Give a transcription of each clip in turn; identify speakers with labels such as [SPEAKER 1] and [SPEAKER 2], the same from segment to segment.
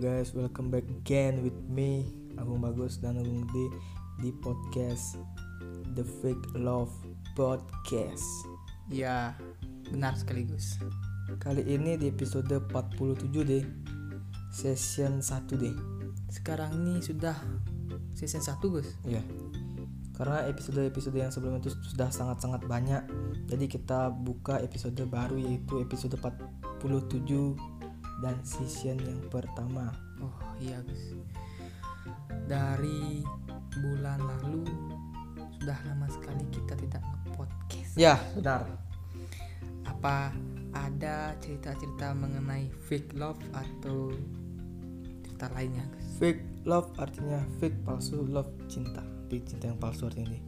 [SPEAKER 1] guys, welcome back again with me Agung Bagus dan Agung Gede di podcast The Fake Love Podcast.
[SPEAKER 2] Ya, benar sekaligus.
[SPEAKER 1] Kali ini di episode 47 deh. Session 1 deh.
[SPEAKER 2] Sekarang ini sudah season 1, Gus.
[SPEAKER 1] Ya. Karena episode-episode yang sebelumnya itu sudah sangat-sangat banyak. Jadi kita buka episode baru yaitu episode 47 dan season yang pertama.
[SPEAKER 2] Oh, iya, Gus. Dari bulan lalu sudah lama sekali kita tidak nge-podcast.
[SPEAKER 1] Ya, benar.
[SPEAKER 2] Apa ada cerita-cerita mengenai fake love atau cerita lainnya, Gus?
[SPEAKER 1] Fake love artinya fake palsu love cinta. Fake cinta yang palsu artinya ini.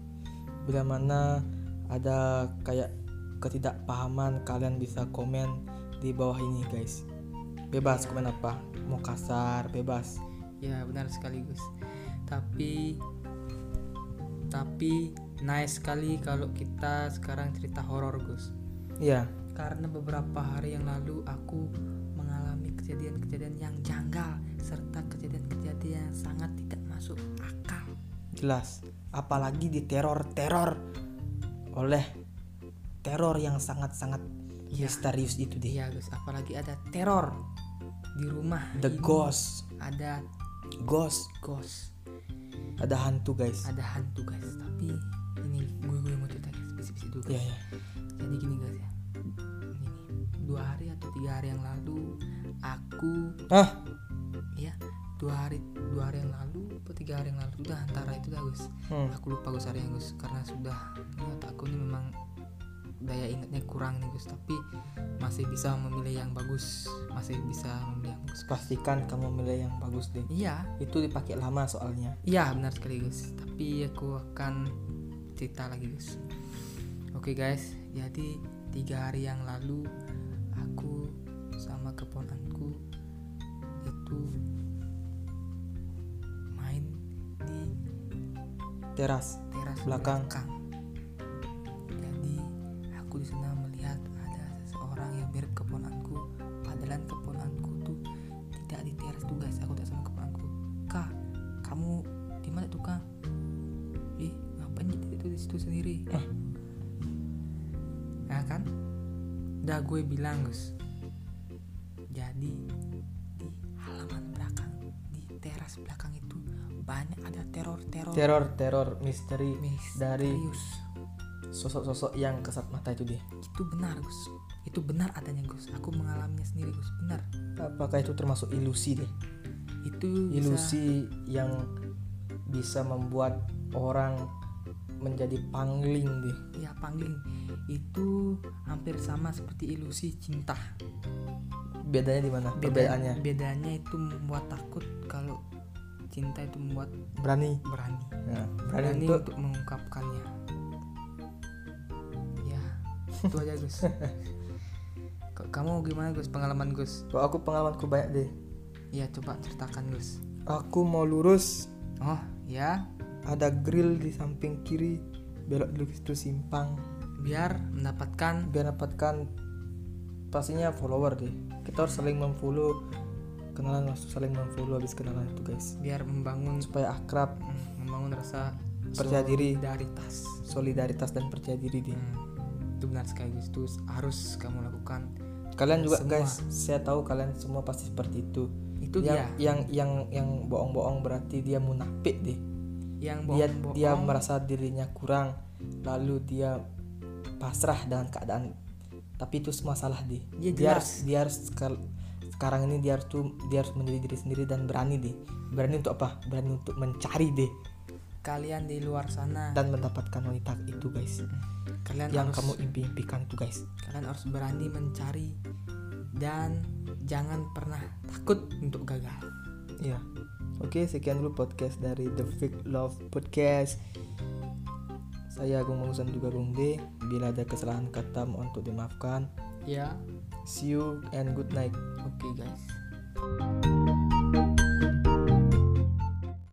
[SPEAKER 1] Bila mana ada kayak ketidakpahaman kalian bisa komen di bawah ini guys. Bebas komen apa, mau kasar, bebas.
[SPEAKER 2] Ya, benar sekali, Gus. Tapi tapi nice sekali kalau kita sekarang cerita horor, Gus.
[SPEAKER 1] Iya,
[SPEAKER 2] karena beberapa hari yang lalu aku mengalami kejadian-kejadian yang janggal serta kejadian-kejadian yang sangat tidak masuk akal.
[SPEAKER 1] jelas. Apalagi di teror-teror oleh teror yang sangat-sangat
[SPEAKER 2] Iya.
[SPEAKER 1] misterius itu deh.
[SPEAKER 2] Iya, Gus, apalagi ada teror di rumah.
[SPEAKER 1] The
[SPEAKER 2] ini.
[SPEAKER 1] ghost,
[SPEAKER 2] Ada
[SPEAKER 1] ghost,
[SPEAKER 2] ghost,
[SPEAKER 1] ada hantu guys.
[SPEAKER 2] ada hantu, guys. Tapi ini gue gue mau cerita guys, bisi-bisi dulu.
[SPEAKER 1] Iya,
[SPEAKER 2] Guys.
[SPEAKER 1] iya.
[SPEAKER 2] Jadi gini, guys ya. Ini nih, dua hari atau tiga hari yang lalu aku
[SPEAKER 1] Ah,
[SPEAKER 2] ya dua hari dua hari yang lalu atau tiga hari yang lalu udah antara itu dah Gus
[SPEAKER 1] hmm.
[SPEAKER 2] aku lupa Gus harian Gus karena sudah niat aku ini memang daya ingatnya kurang nih Gus tapi masih bisa memilih yang bagus masih bisa memilih yang bagus Gus.
[SPEAKER 1] pastikan kamu milih yang bagus deh.
[SPEAKER 2] iya
[SPEAKER 1] Itu dipakai lama soalnya.
[SPEAKER 2] iya benar sekali Gus tapi aku akan cerita lagi Gus oke guys jadi tiga hari yang lalu aku sama keponakanku itu main di
[SPEAKER 1] Teras.
[SPEAKER 2] teras
[SPEAKER 1] Belakang.
[SPEAKER 2] Jadi aku di sana melihat ada seseorang yang mirip keponakanku. Padahal keponakanku tuh tidak di teras tugas. Aku tak sama keponakanku. Kak, kamu di mana tuh kak? Ih, ngapain gitu itu di situ sendiri?
[SPEAKER 1] Eh.
[SPEAKER 2] Nah kan? Udah gue bilang Gus. Jadi di halaman belakang, di teras belakang itu banyak ada teror-teror
[SPEAKER 1] Teror-teror Oh. misteri dari
[SPEAKER 2] misterius
[SPEAKER 1] sosok-sosok yang kesat mata itu deh.
[SPEAKER 2] itu benar Gus itu benar adanya Gus aku mengalaminya sendiri Gus benar
[SPEAKER 1] Apakah itu termasuk ilusi deh?
[SPEAKER 2] itu bisa-
[SPEAKER 1] Ilusi yang bisa membuat orang menjadi pangling deh.
[SPEAKER 2] ya pangling itu hampir sama seperti ilusi cinta
[SPEAKER 1] Bedanya di mana? Perbedaannya.
[SPEAKER 2] bedanya itu membuat takut kalau cinta itu membuat
[SPEAKER 1] Berani.
[SPEAKER 2] berani
[SPEAKER 1] Nah, berani
[SPEAKER 2] berani
[SPEAKER 1] untuk
[SPEAKER 2] untuk mengungkapkannya ya itu aja Gus K- kamu gimana Gus pengalaman Gus
[SPEAKER 1] kalau aku pengalamanku banyak deh.
[SPEAKER 2] ya coba ceritakan Gus
[SPEAKER 1] Aku mau lurus,
[SPEAKER 2] oh ya
[SPEAKER 1] ada grill di samping kiri, belok dulu ke situ simpang.
[SPEAKER 2] biar mendapatkan
[SPEAKER 1] biar dapatkan pastinya follower deh kita harus saling memfollow kenalan harus saling memfollow habis kenalan itu guys
[SPEAKER 2] biar membangun
[SPEAKER 1] supaya akrab
[SPEAKER 2] Mm, membangun rasa
[SPEAKER 1] Percaya diri.
[SPEAKER 2] solidaritas
[SPEAKER 1] solidaritas dan percaya diri deh
[SPEAKER 2] Mm, itu benar sekali Gus. itu harus kamu lakukan
[SPEAKER 1] kalian juga
[SPEAKER 2] Semua.
[SPEAKER 1] guys saya tahu kalian semua pasti seperti itu
[SPEAKER 2] itu
[SPEAKER 1] yang
[SPEAKER 2] dia
[SPEAKER 1] yang yang yang bohong-bohong berarti dia munafik deh
[SPEAKER 2] yang
[SPEAKER 1] dia
[SPEAKER 2] bohong-bohong
[SPEAKER 1] dia merasa dirinya kurang lalu dia pasrah dengan keadaan tapi itu semua salah deh dia
[SPEAKER 2] Ya, jelas.
[SPEAKER 1] harus, dia harus sekal- sekarang ini dia harus tuh dia harus menjadi diri sendiri dan berani deh berani untuk apa berani untuk mencari deh
[SPEAKER 2] kalian di luar sana
[SPEAKER 1] dan mendapatkan wanita itu guys
[SPEAKER 2] kalian
[SPEAKER 1] yang
[SPEAKER 2] harus
[SPEAKER 1] kamu impi-impikan itu guys
[SPEAKER 2] kalian harus berani mencari dan jangan pernah takut untuk gagal
[SPEAKER 1] Iya. Oke, sekian dulu podcast dari The Fake Love Podcast. Saya Agung Mangusan juga Agung D. Bila ada kesalahan kata mohon untuk dimaafkan.
[SPEAKER 2] ya
[SPEAKER 1] See you and good night.
[SPEAKER 2] oke guys